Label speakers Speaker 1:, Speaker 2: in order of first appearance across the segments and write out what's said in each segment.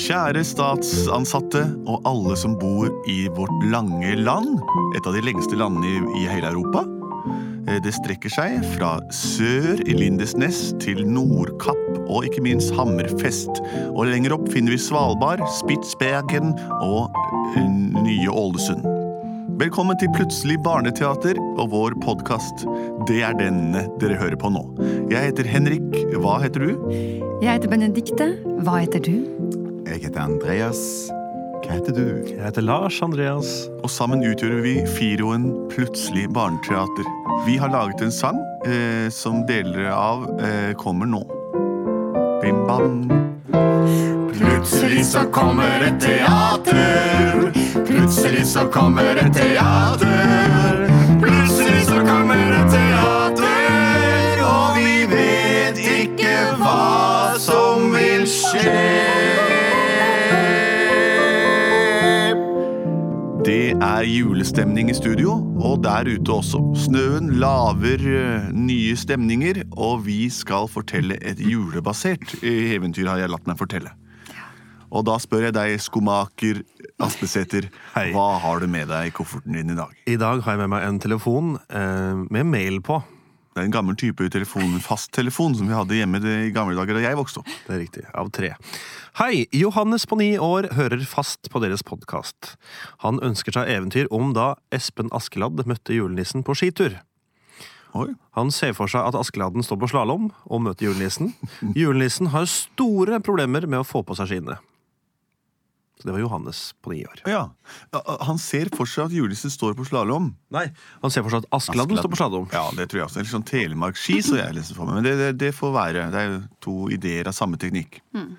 Speaker 1: Kjære statsansatte og alle som bor i vårt lange land, et av de lengste landene i, i hele Europa. Eh, Det strekker seg fra sør i Lindesnes til Nordkapp og ikke minst Hammerfest. Og lenger opp finner vi Svalbard, Spitsbergen og eh, Nye Ålesund. Velkommen til Plutselig barneteater og vår podkast. Det er denne dere hører på nå. Jeg heter Henrik. Hva heter du?
Speaker 2: Jeg heter Benedikte. Hva heter du?
Speaker 3: Jeg heter Andreas. Hva heter du?
Speaker 4: Jeg heter Lars Andreas.
Speaker 1: Og sammen utgjør vi Firoen Plutselig barneteater. Vi har laget en sang eh, som deler av eh, kommer nå. Bim bam.
Speaker 3: Plutselig så kommer et teater. Plutselig så kommer et teater. Plutselig så kommer et teater. Og vi vet ikke hva som vil skje.
Speaker 1: Det er julestemning i studio, og der ute også. Snøen laver eh, nye stemninger, og vi skal fortelle et julebasert eh, eventyr, har jeg latt meg fortelle. Og da spør jeg deg, skomaker Aspesæter,
Speaker 4: Hei.
Speaker 1: hva har du med deg i kofferten din i dag?
Speaker 4: I dag har jeg med meg en telefon eh, med mail på.
Speaker 1: Det er en gammel type telefon, fasttelefon som vi hadde hjemme det- i gamle dager da jeg vokste opp.
Speaker 4: Det er riktig. Av tre. Hei! Johannes på ni år hører fast på deres podkast. Han ønsker seg eventyr om da Espen Askeladd møtte julenissen på skitur.
Speaker 1: Oi.
Speaker 4: Han ser for seg at Askeladden står på slalåm og møter julenissen. Julenissen har store problemer med å få på seg skiene. Så det var Johannes på ni år.
Speaker 1: Ja. Ja, Han ser for seg at julenissen står på slalåm.
Speaker 4: Nei, Han ser for seg at Askeladden står på slalåm.
Speaker 1: Ja, det tror jeg også. Eller sånn telemarkski, så jeg leser for meg. Men det, det, det får være. Det er jo to ideer av samme teknikk.
Speaker 4: Mm.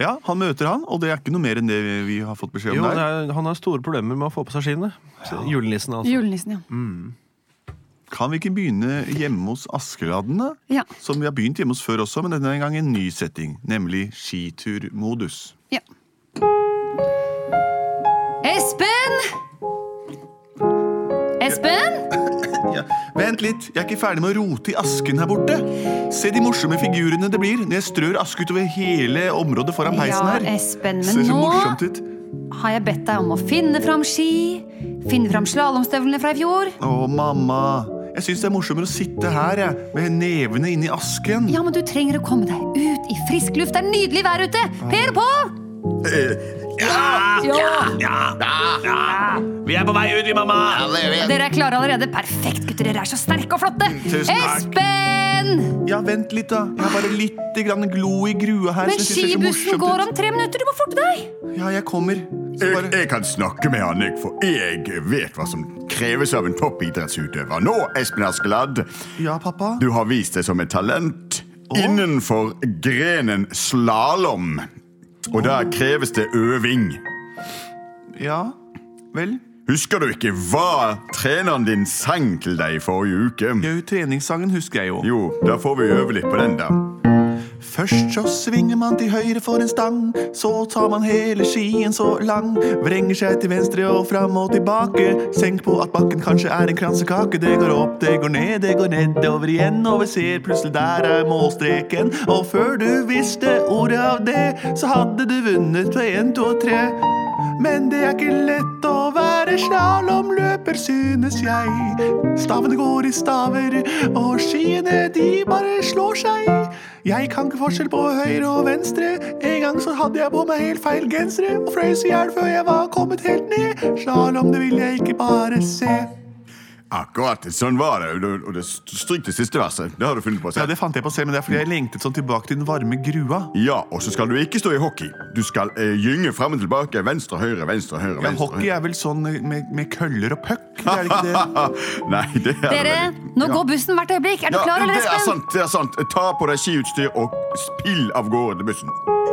Speaker 1: Ja, han møter han, og det er ikke noe mer enn det vi- vi har fått beskjed
Speaker 4: Jo,
Speaker 1: om
Speaker 4: det
Speaker 1: der.
Speaker 4: er, han har store problemer med å få på seg skiene. Så Julenissen, altså.
Speaker 2: Julenissen, ja.
Speaker 1: Kan vi ikke begynne hjemme hos Askeladden, da?
Speaker 2: Ja.
Speaker 1: Som vi har begynt hjemme hos før også, men denne gang en ny setting. Nemlig skiturmodus.
Speaker 2: ja. Espen! Espen!
Speaker 1: Ja. Vent litt, jeg er ikke ferdig med å rote i asken her borte. Se de morsomme figurene det blir når jeg strør aske utover hele området foran peisen
Speaker 2: Ja,
Speaker 1: her.
Speaker 2: Espen, men
Speaker 1: Ser så
Speaker 2: nå-
Speaker 1: morsomt ut.
Speaker 2: Har jeg bedt deg om å finne fram ski? Finne fram slalåmstøvlene fra i fjor?
Speaker 1: Å, mamma. Jeg syns det er morsommere å sitte her, jeg, med nevene inni asken.
Speaker 2: Ja, men du trenger å komme deg ut i frisk luft. Det er nydelig vær ute! Per på! Ja! ja.
Speaker 5: Vi er på vei ut, vi, mamma!
Speaker 2: Dere er klare allerede. Perfekt, gutter. Dere er så sterke og flotte.
Speaker 1: Tusen takk.
Speaker 2: Espen!
Speaker 1: Ja, vent litt, da. Jeg har bare litt grann glo i grua her.
Speaker 2: Men
Speaker 1: så jeg synes det ser så
Speaker 2: skibussen
Speaker 1: morsomt ut.
Speaker 2: går om tre minutter. Du må forte deg!
Speaker 1: Ja, jeg kommer. Så
Speaker 3: Jeg,
Speaker 1: bare...
Speaker 3: jeg kan snakke med han, jeg, for jeg vet hva som kreves av en toppidrettsutøver. Nå, Espen Askeladd,
Speaker 1: Ja, pappa.
Speaker 3: du har vist deg som et talent innenfor grenen slalåm. Og da kreves det øving.
Speaker 1: Ja. Vel.
Speaker 3: Husker du ikke hva treneren din sang til deg i forrige uke?
Speaker 1: Ja, treningssangen husker jeg jo.
Speaker 3: Jo, da får vi øve litt på den, da.
Speaker 1: Først så svinger man til høyre for en stang, så tar man hele skien så lang. Vrenger seg til venstre og fram og tilbake. Senk på at bakken kanskje er en kransekake. Det går opp, det går ned, det går nedover igjen. Og vi ser plutselig der er målstreken. Og før du visste ordet av det, så hadde du vunnet på én, to og tre. Men det er ikke lett å være slalåmløper, synes jeg. Stavene går i staver, og skiene de bare slår seg. Jeg kan ikke forskjell på høyre og venstre. En gang så hadde jeg på meg helt feil gensere og frøs i hjel før jeg var kommet helt ned. Slalåm, det vil jeg ikke bare se.
Speaker 3: Akkurat sånn var det. Og- Og det stryk det siste verset. Det har du funnet på selv.
Speaker 1: fant jeg på å se, men det er fordi jeg lengtet sånn tilbake til den varme grua.
Speaker 3: Ja, og så skal du ikke stå i hockey. Du skal eh, gynge frem og tilbake. Venstre, høyre, venstre, høyre.
Speaker 1: Ja,
Speaker 3: venstre,
Speaker 1: hockey er vel sånn med, med køller og puck, er det ikke det?
Speaker 3: høyre. Nei, det er
Speaker 2: Dere,
Speaker 3: det vel.
Speaker 2: nå
Speaker 3: Ja.
Speaker 2: går bussen hvert øyeblikk. Er du
Speaker 3: Ja,
Speaker 2: klar, eller,
Speaker 3: det er
Speaker 2: Espen?
Speaker 1: altså-
Speaker 3: sant, det er sant. Ta på deg skiutstyr og spill av gårde til bussen.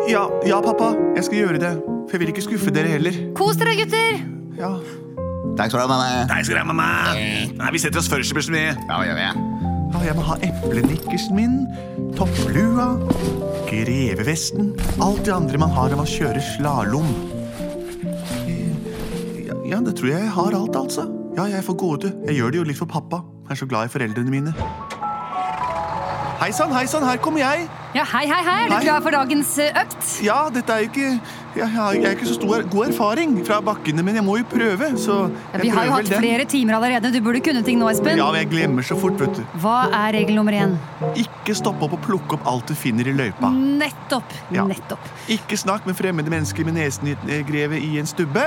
Speaker 1: Ja, ja, pappa, jeg skal gjøre det. For jeg vil ikke skuffe dere heller.
Speaker 2: Kos dere, gutter!
Speaker 1: Ja.
Speaker 3: Takk skal du ha, mamma.
Speaker 5: Nei, skal det, mamma! Nei, Vi setter oss først i bussen, vi.
Speaker 3: Ja, ja, ja.
Speaker 1: Ja, jeg må ha eplenikkersen min, topplua, grevevesten Alt det andre man har når man kjører slalåm. Ja, ja, det tror jeg jeg har alt, altså. Ja, jeg får gå ut. Jeg gjør det jo litt for pappa. Jeg er så glad i foreldrene mine. Hei sann, hei sann, her kommer jeg.
Speaker 2: Ja, hei, hei, hei. Er du
Speaker 1: Hei.
Speaker 2: klar for dagens eh, økt?
Speaker 1: Ja, dette er jo ikke Jeg har jeg har ikke så stor, god erfaring fra bakkene, men jeg må jo prøve, så
Speaker 2: Ja,
Speaker 1: jeg
Speaker 2: vi har jo
Speaker 1: prøver
Speaker 2: hatt
Speaker 1: vel den.
Speaker 2: flere timer allerede. Du burde kunne ting nå, Espen.
Speaker 1: Ja, men jeg glemmer så fort, vet du.
Speaker 2: Hva er regel nummer én?
Speaker 1: Ikke stopp opp og plukke opp alt du finner i løypa.
Speaker 2: Nettopp.
Speaker 1: Ja.
Speaker 2: Nettopp.
Speaker 1: Ikke snakk med fremmede mennesker med nesen i- eh, grevet i en stubbe.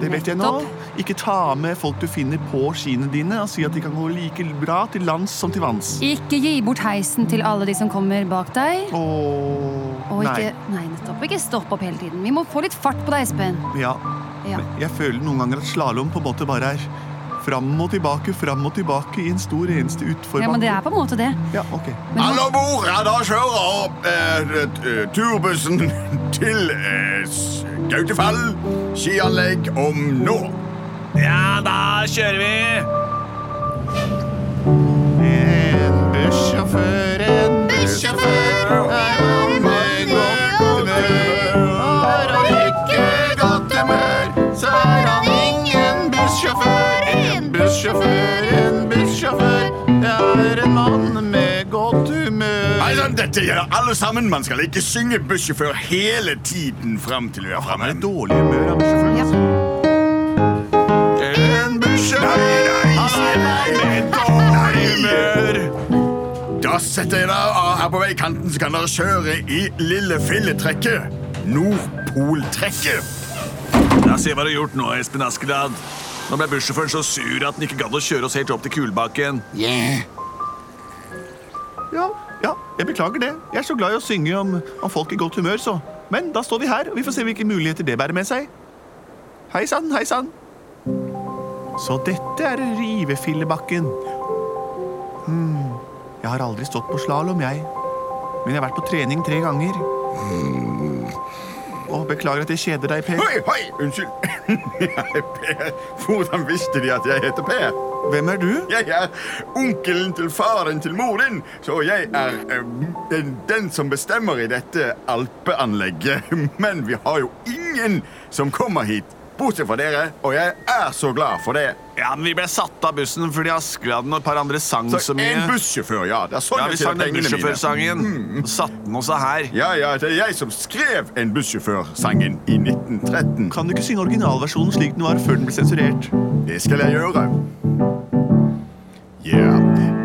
Speaker 1: Det vet jeg nå. Ikke ta med folk du finner på skiene dine, og si at de kan gå like bra til lands som til vanns.
Speaker 2: Ikke gi bort heisen til alle de som kommer bak deg.
Speaker 1: Åh,
Speaker 2: Og ikke,
Speaker 1: nei.
Speaker 2: nei, nettopp. Ikke stopp opp hele tiden. Vi må få litt fart på deg, Espen.
Speaker 1: Ja.
Speaker 2: Ja.
Speaker 1: Jeg føler noen ganger at slalåm på en måte bare er fram og tilbake, fram og tilbake i en stor eneste utforbakke.
Speaker 2: ja, men det er på en måte det.
Speaker 1: Ja, ok.
Speaker 2: Men du
Speaker 3: Alle
Speaker 2: må,
Speaker 3: om bord! Ja, da kjører eh, eh, turbussen til eh, s- Gautefall skianlegg om nå.
Speaker 5: Ja, da kjører vi.
Speaker 1: En bussjåfør, en bussjåfør er med godt humør. Har han ikke godt humør, så er han ingen bussjåfør. En bussjåfør, en bussjåfør er en mann med godt humør.
Speaker 3: Nei, sånn, dette gjelder alle sammen. Man skal ikke synge bussjåfør hele tiden fram til vi er framme.
Speaker 1: dårlig humør av bussjåføren.
Speaker 5: altså.
Speaker 2: Ja.
Speaker 1: En bussjåfør
Speaker 3: Nei, nei, nei, nei.
Speaker 1: humør.
Speaker 3: Da setter jeg dere av her på veikanten, så kan dere kjøre i lille filletrekket. Nordpoltrekket.
Speaker 5: Ja, se hva du har gjort nå, Espen Askeladd. Nå ble bussjåføren så sur at han ikke gadd å kjøre oss helt opp til Kulbakken.
Speaker 1: Ja, ja, jeg beklager det. Jeg er så glad i å synge om, om folk i godt humør, så. Men da står vi her, og vi får se hvilke muligheter det bærer med seg. Hei sann, hei sann. Så dette er Rivefillebakken. Hmm. Jeg har aldri stått på slalåm, jeg. Men jeg har vært på trening tre ganger.
Speaker 5: Hmm.
Speaker 1: Og beklager at jeg kjeder deg, Per.
Speaker 3: Hoi, hoi! Unnskyld. Jeg er Per. Hvordan visste de at jeg heter Per?
Speaker 1: Hvem er du?
Speaker 3: Jeg er onkelen til faren til mor din, så jeg er eh, den, den som bestemmer i dette alpeanlegget. Men vi har jo ingen som kommer hit, bortsett fra dere, og jeg er så glad for det.
Speaker 5: Ja, men Vi ble satt av bussen fordi Askeladden og et par andre sang så,
Speaker 3: Så
Speaker 5: mye.
Speaker 3: en bussjåfør, ja. Det er sånn
Speaker 5: Ja, Vi
Speaker 3: jeg
Speaker 5: sang
Speaker 3: tjener
Speaker 5: den
Speaker 3: pengene mine.
Speaker 5: bussjåførsangen.
Speaker 1: Hmm.
Speaker 5: og Satte den oss av her.
Speaker 3: Ja, ja, det er jeg som skrev en bussjåfør-sangen i 1913.
Speaker 1: Kan du ikke synge originalversjonen slik den var før den ble sensurert?
Speaker 3: Det skal jeg gjøre. Ja,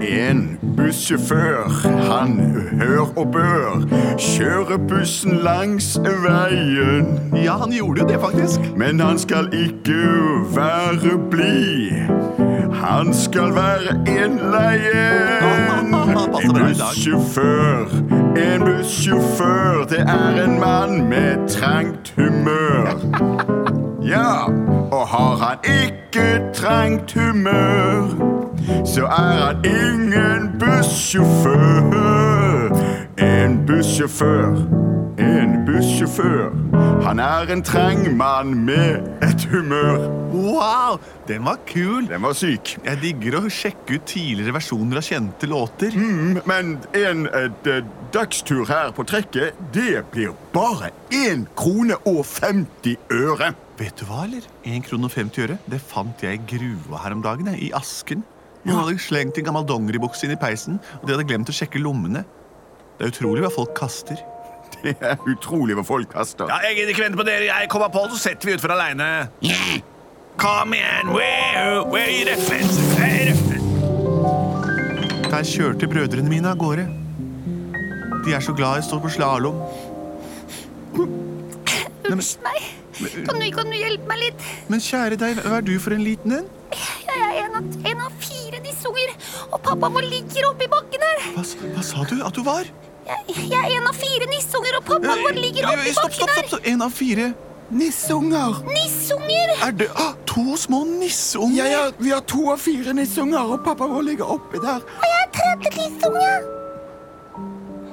Speaker 3: en bussjåfør, han hør og bør kjøre bussen langs veien.
Speaker 1: Ja, han gjorde jo det, faktisk.
Speaker 3: Men han skal ikke være blid. Han skal være en leien.
Speaker 1: Passer
Speaker 3: En
Speaker 1: bra i dag.
Speaker 3: bussjåfør, en bussjåfør, det er en mann med trangt humør. Ja, og har han ikke trangt humør, så er han ingen bussjåfør. En bussjåfør, en bussjåfør. Han er en trang mann med et humør.
Speaker 1: Wow, den var kul.
Speaker 3: Den var syk.
Speaker 1: Jeg digger å sjekke ut tidligere versjoner av kjente låter.
Speaker 3: Mm, Men en eh, d- dagstur her på trekket, det blir bare 1 krone og 50 øre.
Speaker 1: Vet du hva, eller? 1 krone og 50 øre. Det fant jeg i grua her om dagen, jeg, i asken. Noen hadde slengt en gammel dongeribukse inn i peisen, og de hadde glemt å sjekke lommene. Det er utrolig hva folk kaster.
Speaker 3: Det er utrolig hva folk kaster.
Speaker 5: Ja, Jeg gidder ikke vente på dere. Jeg kommer på, så setter vi utfor aleine. Kom igjen! Where, where are the fence? Where the fence?
Speaker 1: Der kjørte brødrene mine av gårde. De er så glad jeg står på slalåm.
Speaker 6: Unnskyld meg. Kan du, kan du hjelpe meg litt?
Speaker 1: Men kjære deg, hva er du for en liten en?
Speaker 6: Jeg er en av, en av fire nissunger, og pappa vår ligger oppi bakken her.
Speaker 1: Hva, s- hva sa du at du var?
Speaker 6: Jeg, jeg er en av fire nissunger, og pappa vår ligger oppi
Speaker 1: Stopp,
Speaker 6: bakken
Speaker 1: stopp, stopp!
Speaker 6: her.
Speaker 1: stopp. En av fire nisseunger.
Speaker 6: Nissunger!
Speaker 1: Er det ah, to små nisseunger?
Speaker 3: vi har to av fire nissunger, og pappa vår ligger oppi der.
Speaker 6: Og jeg er tredje nissunge.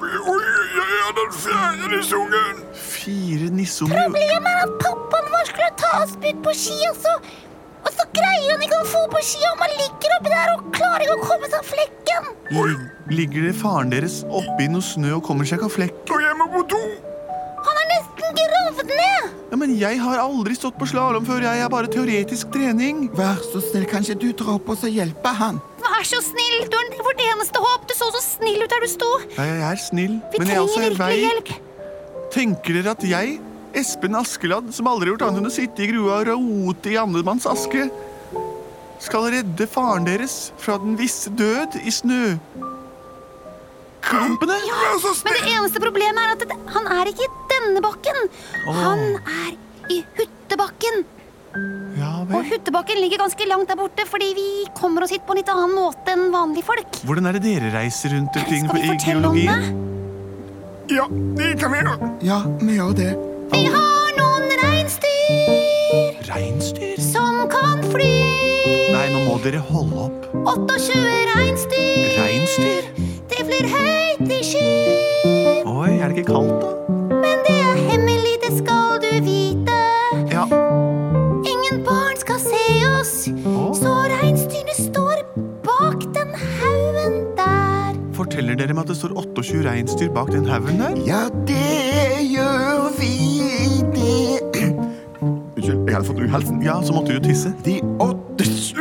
Speaker 3: Jeg er den fjerde nissungen.
Speaker 1: Fire nisseunger.
Speaker 6: Problemet er at pappaen vår skulle ta oss ut på ski, og så, og så greier han ikke å få på ski, og man ligger oppi der og klarer ikke å komme seg av flekken.
Speaker 1: Lig- Ligger det faren deres oppi noe snø og kommer seg ikke av flekk?
Speaker 3: Og jeg må på do.
Speaker 6: Han er nesten gravd ned.
Speaker 1: Ja, men jeg har aldri stått på slalåm før. Jeg er bare teoretisk trening.
Speaker 7: Vær så snill, kanskje du drar opp og så hjelper han?
Speaker 6: Nei, Vær så snill! Du er vårt eneste håp! Du så så snill ut der du sto!
Speaker 1: Ja, jeg er snill,
Speaker 6: Vi
Speaker 1: men jeg er altså
Speaker 6: trenger
Speaker 1: også veik.
Speaker 6: virkelig hjelp!
Speaker 1: Tenker dere at jeg, Espen Askeladd, som aldri har gjort annet enn å sitte i grua og rote i andremanns aske, skal redde faren deres fra den visse død i snøklumpene?
Speaker 3: Vær så
Speaker 6: Men det
Speaker 3: snill!
Speaker 6: eneste problemet er at det, han er ikke i denne bakken. Han er i Huttebakken.
Speaker 1: Ja
Speaker 6: Og
Speaker 1: vel.
Speaker 6: Huttebakken ligger ganske langt der borte fordi vi kommer oss hit på en litt annen måte enn vanlige folk.
Speaker 1: Hvordan er det dere reiser rundt omkring
Speaker 6: Skal
Speaker 1: på
Speaker 6: vi
Speaker 1: i
Speaker 6: fortelle om
Speaker 1: geologien?
Speaker 6: det?
Speaker 3: Ja, det kan vi gjøre.
Speaker 7: Ja, vi gjør det.
Speaker 6: Vi har noen reinsdyr
Speaker 1: Reinsdyr?
Speaker 6: som kan fly.
Speaker 1: Nei, nå må dere holde opp.
Speaker 6: 28 reinsdyr,
Speaker 1: Reinsdyr?
Speaker 6: de flyr høyt i sky.
Speaker 1: Oi, er det ikke kaldt, da?
Speaker 6: Men det er hemmelig, det skal du vite.
Speaker 1: Ja.
Speaker 6: Ingen barn skal se oss.
Speaker 1: Å.
Speaker 6: Så reinsdyrene står bak den haugen der.
Speaker 1: Forteller dere meg at det står 28 reinsdyr bak den haugen der?
Speaker 7: Ja, det gjør vi. Det
Speaker 3: Unnskyld, jeg hadde fått uhelsen.
Speaker 1: Ja, så måtte du jo tisse.
Speaker 3: De 28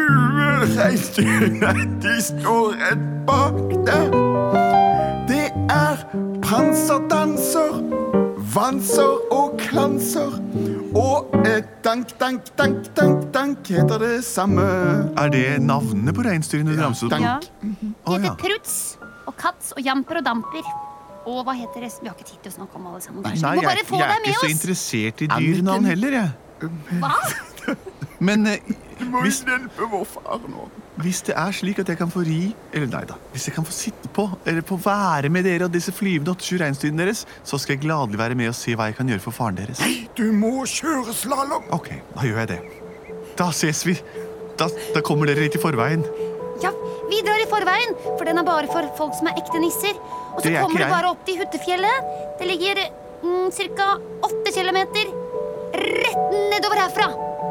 Speaker 3: reinsdyrene, de står rett bak der. Det er panserdanser, vanser og klanser. Og eh, dank, dank, dank, dank, dank heter det samme.
Speaker 1: Er det navnene på reinsdyrene du ramset opp?
Speaker 2: Ja.
Speaker 1: Å,
Speaker 6: heter
Speaker 1: ja.
Speaker 6: Pruts og Kats og Jamper og Damper. Og hva heter resten? Vi har ikke tid til å snakke om alle sammen. der, så
Speaker 1: Nei,
Speaker 6: vi
Speaker 1: jeg,
Speaker 6: må bare få
Speaker 1: jeg er
Speaker 6: deg
Speaker 1: ikke så
Speaker 6: med oss.
Speaker 1: interessert i dyrnavn heller, jeg.
Speaker 6: Hva?
Speaker 1: Men eh,
Speaker 3: Må
Speaker 1: hvis,
Speaker 3: hjelpe vår far nå.
Speaker 1: hvis det er slik at jeg kan få ri Eller nei da. Hvis jeg kan få sitte på, eller få være med dere og disse flyvende 28 reinsdyrene deres, så skal jeg gladelig være med og se hva jeg kan gjøre for faren deres.
Speaker 3: Du må kjøre slalåm.
Speaker 1: Ok, da gjør jeg det. Da ses vi. Da, da kommer dere litt i forveien.
Speaker 6: Ja, vi drar i forveien, for den er bare for folk som er ekte nisser. Og så
Speaker 1: Det er ikke
Speaker 6: kommer du
Speaker 1: jeg.
Speaker 6: bare opp til Huttefjellet. Det ligger mm, ca. 8 kilometer rett nedover herfra.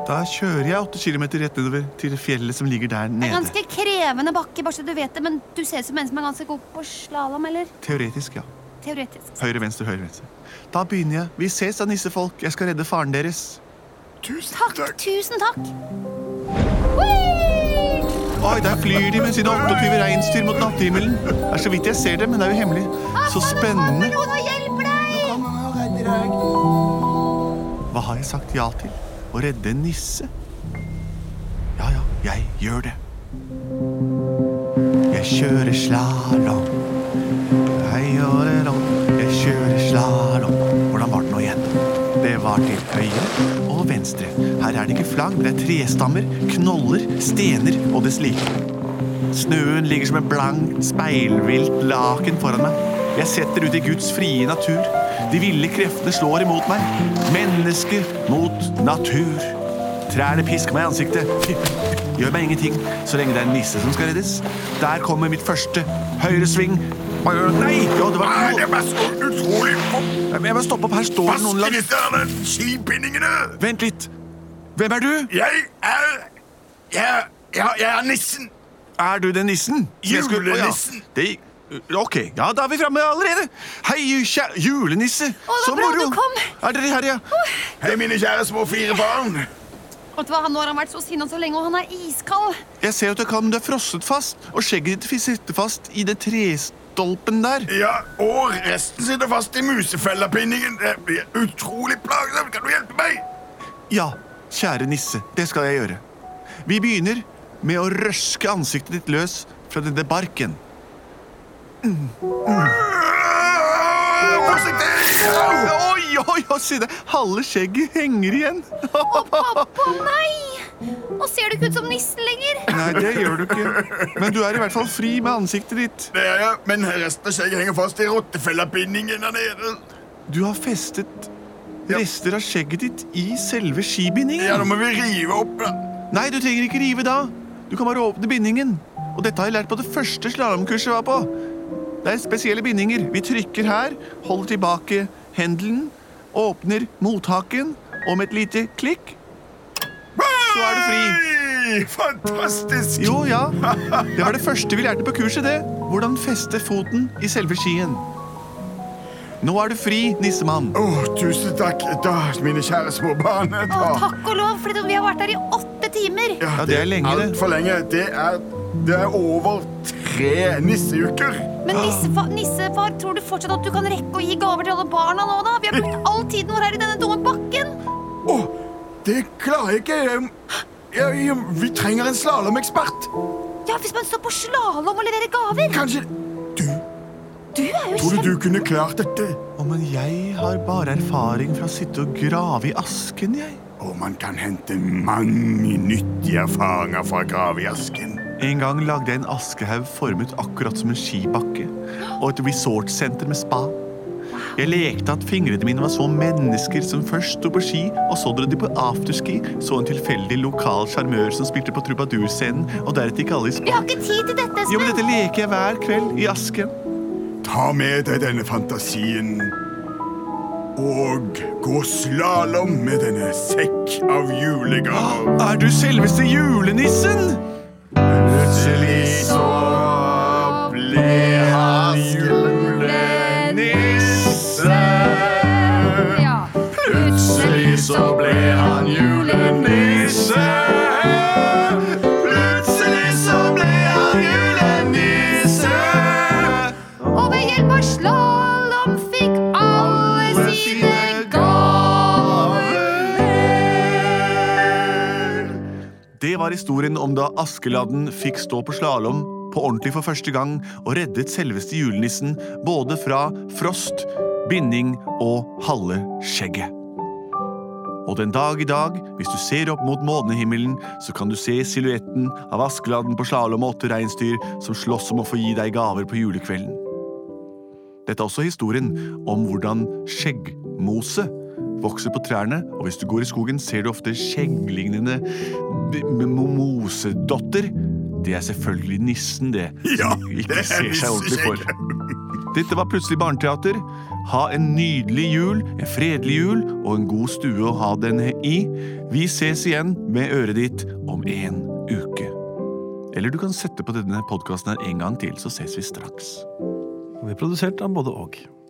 Speaker 1: Da kjører jeg åtte kilometer rett nedover til fjellet som ligger der
Speaker 6: Det er
Speaker 1: nede.
Speaker 6: ganske krevende bakke, bare så du vet det, men du ser ut som en som er ganske god på slalåm, eller
Speaker 1: Teoretisk, ja.
Speaker 6: teoretisk.
Speaker 1: Høyre, venstre, høyre, venstre. Da begynner jeg. Vi ses da, nissefolk. Jeg skal redde faren deres.
Speaker 3: Tusen
Speaker 6: Takk,
Speaker 3: takk.
Speaker 6: tusen takk.
Speaker 1: Oi, der flyr de med sine 28 reinsdyr mot natthimmelen. Det er så vidt jeg ser dem, men det er jo hemmelig. Så spennende.
Speaker 6: Noen og hjelper deg!
Speaker 7: kommer vi og redder deg.
Speaker 1: Hva har jeg sagt ja til? Å redde en nisse? Ja, ja, jeg gjør det. Jeg kjører slalåm. Jeg kjører om. Jeg kjører slalåm. Hvordan var det nå igjen? Det var til høyre og venstre. Her er det ikke flagg, men det er trestammer, knoller, stener og dets like. Snøen ligger som en blankt, speilvilt laken foran meg. Jeg setter ut i Guds frie natur. De ville kreftene slår imot meg. Menneske mot natur. Trærne pisker meg i ansiktet. Gjør meg ingenting så lenge det er en nisse som skal reddes. Der kommer mitt første høyresving. Nei! Ja, det var
Speaker 3: Nei, det var så utrolig
Speaker 1: Jeg må stoppe opp. Her står det noen langs
Speaker 3: Vaskelitterne, skipinningene.
Speaker 1: Vent litt. Hvem er du?
Speaker 3: Jeg er Jeg, jeg, jeg er nissen.
Speaker 1: Er du den nissen? Jeg skulle- å, ja.
Speaker 3: Julenissen.
Speaker 1: Det, ok, ja, da er vi framme allerede. Hei, kjære julenisse.
Speaker 6: det var bra du kom.
Speaker 1: Er dere her, ja?
Speaker 3: Hei, mine kjære små fire barn.
Speaker 6: Vet du hva, Nå har han vært så sinna så lenge, og han er iskald.
Speaker 1: Jeg ser at du kan, men du er frosset fast, og skjegget ditt sitter fast i den trestolpen der.
Speaker 3: Ja, og resten sitter fast i musefellerpinningen. Det blir utrolig plagsomt. Kan du hjelpe meg?
Speaker 1: Ja, kjære nisse, det skal jeg gjøre. Vi begynner med å røske ansiktet ditt løs fra denne barken.
Speaker 3: Ah, Forsiktig! Au!
Speaker 1: Oi, oi, oi, se det. Halve skjegget henger igjen.
Speaker 6: Å nei! Nå ser du ikke ut som nissen lenger.
Speaker 1: Nei, det gjør du ikke. Men du er i hvert fall fri med ansiktet ditt.
Speaker 3: Det er jeg, men resten av skjegget henger fast i rottefellerpinningen der nede.
Speaker 1: Du har festet
Speaker 3: Ja.
Speaker 1: rester av skjegget ditt i selve skibindingen.
Speaker 3: Ja, da må vi rive opp den.
Speaker 1: Nei, du trenger ikke rive da. Du kan bare åpne bindingen. Og dette har jeg lært på det første slalåmkurset jeg var på. Det er spesielle bindinger. Vi trykker her, holder tilbake hendelen, åpner mothaken, og med et lite klikk Så er du fri.
Speaker 3: Hei! Fantastisk!
Speaker 1: Jo, ja. Det var det første vi lærte på kurset, det. Hvordan feste foten i selve skien. Nå er du fri, nissemann.
Speaker 3: Åh, tusen takk, da, mine kjære små barn. Da.
Speaker 6: Å, takk og lov, for vi har vært her i åtte timer.
Speaker 1: Ja, det er lenge, det.
Speaker 3: Altfor lenge. Det er Det er over tre nisseuker.
Speaker 2: Men nissefar, nissefar, tror du fortsatt at du kan rekke å gi gaver til alle barna nå, da? Vi har brukt all tiden vår her i denne dumme bakken.
Speaker 3: Å, det klarer jeg ikke. Jeg- Jeg, jeg, vi trenger en slalåmekspert.
Speaker 2: Ja, hvis man står på slalåm og leverer gaver.
Speaker 3: Kanskje Du,
Speaker 2: Du er jo
Speaker 3: tror du
Speaker 2: kjempe...
Speaker 3: du kunne klart dette?
Speaker 1: Å, men jeg har bare erfaring fra å sitte og grave i asken, jeg.
Speaker 3: Og man kan hente mange nyttige erfaringer fra graveasken.
Speaker 1: En gang lagde jeg en askehaug formet akkurat som en skibakke. Og et resortsenter med spa. Jeg lekte at fingrene mine var så mennesker som først sto på ski, og så dro de på afterski, så en tilfeldig lokal sjarmør som spilte på trubadurscenen, og deretter gikk alle i
Speaker 2: Vi
Speaker 1: spa.
Speaker 2: har ikke tid til dette,
Speaker 1: Jo, men dette
Speaker 2: Espen.
Speaker 1: leker jeg hver kveld i asken.
Speaker 3: Ta med deg denne fantasien og gå slalåm med denne sekk av julegaver.
Speaker 1: Er du selveste julenissen?
Speaker 3: Plutselig så ble han julenisse.
Speaker 2: Ja.
Speaker 3: Plutselig så ble han julenisse. Plutselig så ble han julenisse.
Speaker 2: Og ved hjelp av slalåm fikk alle sine
Speaker 1: Det var historien om da Askeladden fikk stå på slalåm på ordentlig for første gang og reddet selveste julenissen både fra frost, binding og halve skjegget. Og den dag i dag, hvis du ser opp mot månehimmelen, så kan du se silhuetten av Askeladden på slalåm og åtte reinsdyr som slåss om å få gi deg gaver på julekvelden. Dette er også historien om hvordan skjeggmose vokser på trærne, og hvis du går i skogen, ser du ofte skjegglignende b- m- mosedotter. Det er selvfølgelig nissen, det.
Speaker 3: Ja,
Speaker 1: som ikke
Speaker 3: det er
Speaker 1: ser seg ordentlig
Speaker 3: nisseskjegg.
Speaker 1: for. Dette var Plutselig barneteater. Ha en nydelig jul, en fredelig jul og en god stue å ha den i. Vi ses igjen med øret ditt om en uke. Eller du kan sette på denne podkasten en gang til, så ses vi straks.
Speaker 4: Og vi er produsert av både og.